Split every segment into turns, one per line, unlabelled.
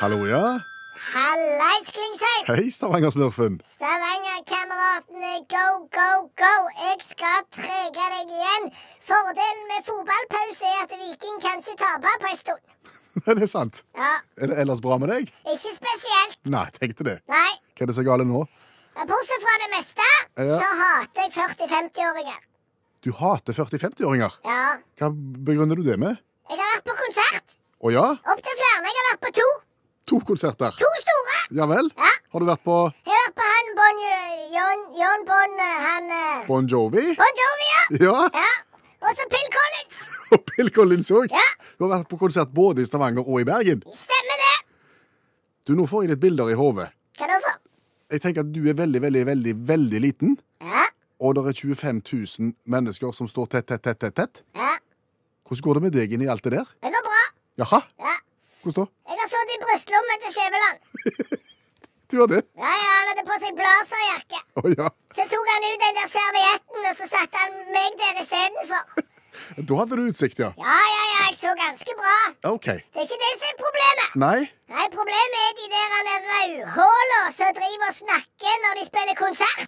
Hallo, ja.
Hallais, Klingsheim!
Hei, Stavanger-smurfen.
Stavanger-kameratene, go, go, go! Jeg skal trege deg igjen. Fordelen med fotballpause er at Viking kan ikke tape på en stund.
Er det sant?
Ja,
Er det ellers bra med deg?
ikke spesielt.
Nei, tenkte det.
Nei.
Hva er det så gale nå?
Bortsett fra det meste,
Ja.
så hater jeg 40-50-åringer.
Du hater 40-50-åringer.
Ja.
Hva begrunner du det med?
Jeg har vært på konsert.
Å ja,
Opptil flere. Jeg har vært på to.
to konserter.
To store.
Ja vel?
Ja.
Har du vært på
Jeg har vært på han Bon John, John Bon eh, Han eh,
Bon Jovi?
Bon Jovi, ja.
Ja.
ja. Og så Pill Collins.
Og Bill Collins òg.
Ja.
Du har vært på konsert både i Stavanger og i Bergen.
Stemmer det.
Du, Nå får jeg litt bilder i hodet.
Hva da for?
Jeg tenker at du er veldig, veldig, veldig, veldig liten.
Ja.
Og det er 25 000 mennesker som står tett, tett, tett, tett, tett.
ja.
Hvordan går det med deg inn i alt det der?
Det går bra.
Jaha,
Ja.
hvordan da?
Jeg har sittet i brystlommen til Skjæveland.
Du har det?
Ja, ja, han hadde på seg blazerjakke.
Å ja.
Så tok han ut den der servietten, og så satte han meg der istedenfor.
Da hadde du utsikt, ja.
Ja, ja, ja, jeg så ganske bra.
OK.
Det er ikke det som er problemet.
Nei?
Nei, Problemet er de der han er rødhåla som driver og snakker når de spiller konsert.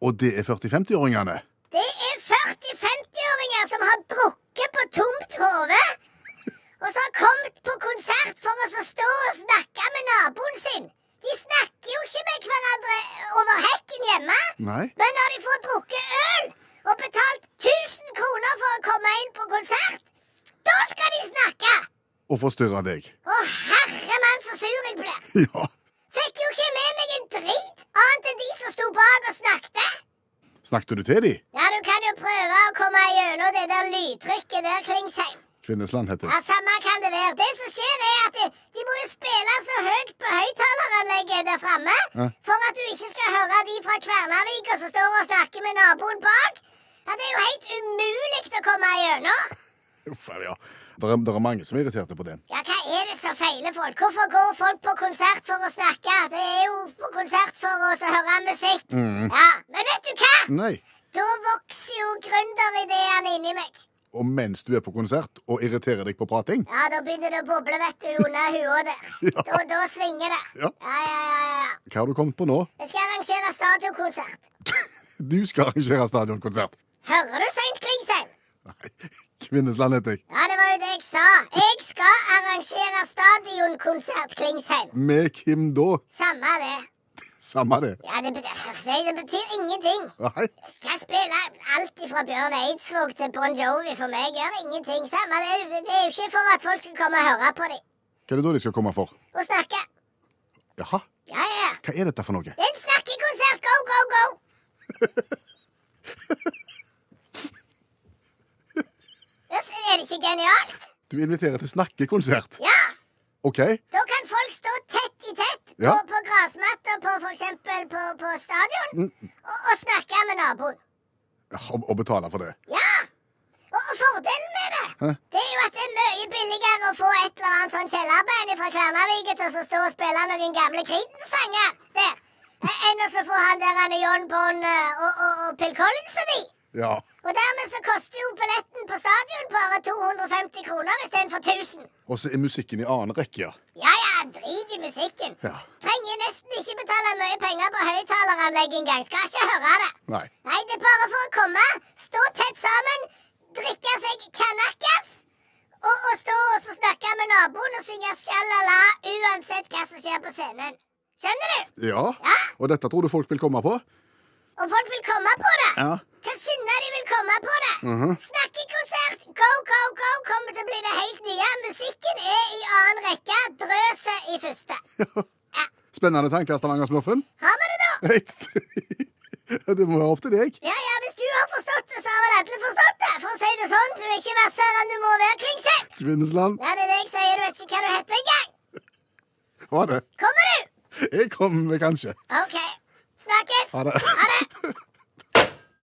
Og det er 40-50-åringene?
Det er 40-50-åringer som har drukket på tomt hode, og så har kommet på konsert for å så stå og snakke med naboen sin. De snakker jo ikke med hverandre over hekken hjemme,
Nei?
men når de får drukket øl og betalt 1000 kroner for å komme inn på konsert, da skal de snakke!
Og forstyrre deg?
Å, herre mann, så sur jeg blir.
Ja.
Fikk jo ikke med meg en drit annet enn de som sto bak og snakket.
Snakket du til de?
Ja, du kan jo prøve å komme gjennom det der lydtrykket der, Klingsheim.
Kvinnesland heter
Ja,
det.
Samme kan det være. Det som skjer, er at de, de må jo spille så høyt på høyttaleranlegget der framme
Ja.
for at du ikke skal høre de fra Kvernavika som står og snakker med naboen bak. Ja, Det er jo helt umulig å komme gjennom.
Uff, ja. Det er, der er mange som er irriterte på det.
Ja, hva er det som feiler folk? Hvorfor går folk på konsert for å snakke? Det er jo på konsert for å så høre musikk.
Mhm.
Ja, Men vet du hva?
Nei.
Da vokser jo gründerideene inni meg.
Og mens du er på konsert og irriterer deg på prating?
Ja, da begynner det å boble, vet du, under hua der.
Ja.
Da, da svinger det.
Ja.
ja, ja, ja, ja.
Hva har du kommet på nå?
Jeg skal arrangere stadionkonsert.
Du skal arrangere stadionkonsert.
Hører du seint, Klingsheim?
Nei, Kvinnesland heter jeg.
Ja, det var jo det jeg sa. Jeg skal arrangere stadionkonsert, Klingsheim.
Med hvem da?
Samme det.
Samme det.
Ja, det, betyr, det betyr ingenting.
Nei,
Kan spille alt fra Bjørn Eidsvåg til Bon Jovi for meg. Gjør ingenting. Samme det. Det er jo ikke for at folk skal komme og høre på dem
hva er det da de skal komme for?
og snakke.
Jaha,
Ja, ja, ja.
hva er dette for noe?
Det er en snakkekonsert. Go, go, go! Yes, Er det ikke genialt?
Du inviterer til snakkekonsert.
Ja!
OK,
Da kan folk stå tett i tett på,
Ja.
på grasmatta på for eksempel på, på stadion
Mm.
og, og snakke med naboen.
og, og betale for det.
Ja! Og, og fordelen med det,
Hæ?
det er jo at det er mye billigere å få et eller annet sånn kjellerbein fra Kværnerviket til å stå og spille noen gamle Creedence-sanger der, eh, enn å så få han der han er John Bond eh, og, og, og Phil Collins og de.
Ja,
Og dermed så koster jo billetten på stadion bare 250 kroner istedenfor 1000.
og så er musikken i annen rekke, ja.
Ja ja, drit i musikken.
Ja.
Trenger nesten ikke betale mye penger på høyttaleranlegg engang. Skal ikke høre det.
Nei.
Nei, det er bare for å komme, stå tett sammen, drikke seg kanakkas. Og, og stå og så snakke med naboen og synge sjalala uansett hva som skjer på scenen. Skjønner du?
Ja,
Ja?
og dette tror du folk vil komme på?
Og folk vil komme på det.
Ja.
Kan skynde de vil komme på det.
Mhm.
Snakkekonsert, go, go, go kommer til å bli det helt nye. Musikken er i annen rekke, drøset i første.
Spennende tanker, Stavanger-smurfen.
Har vi det, da?
Det må være opp til deg.
Ja, ja, Hvis du har forstått det, så har vel alle forstått det. For å si det sånn, du er ikke vassere enn du må være, Klingsheim.
Kvinnesland,
Ja, det er det jeg sier, du vet ikke hva du heter engang.
ha det.
Kommer du?
Jeg kommer kanskje.
OK. Snakkes.
Ha det.
Ha det.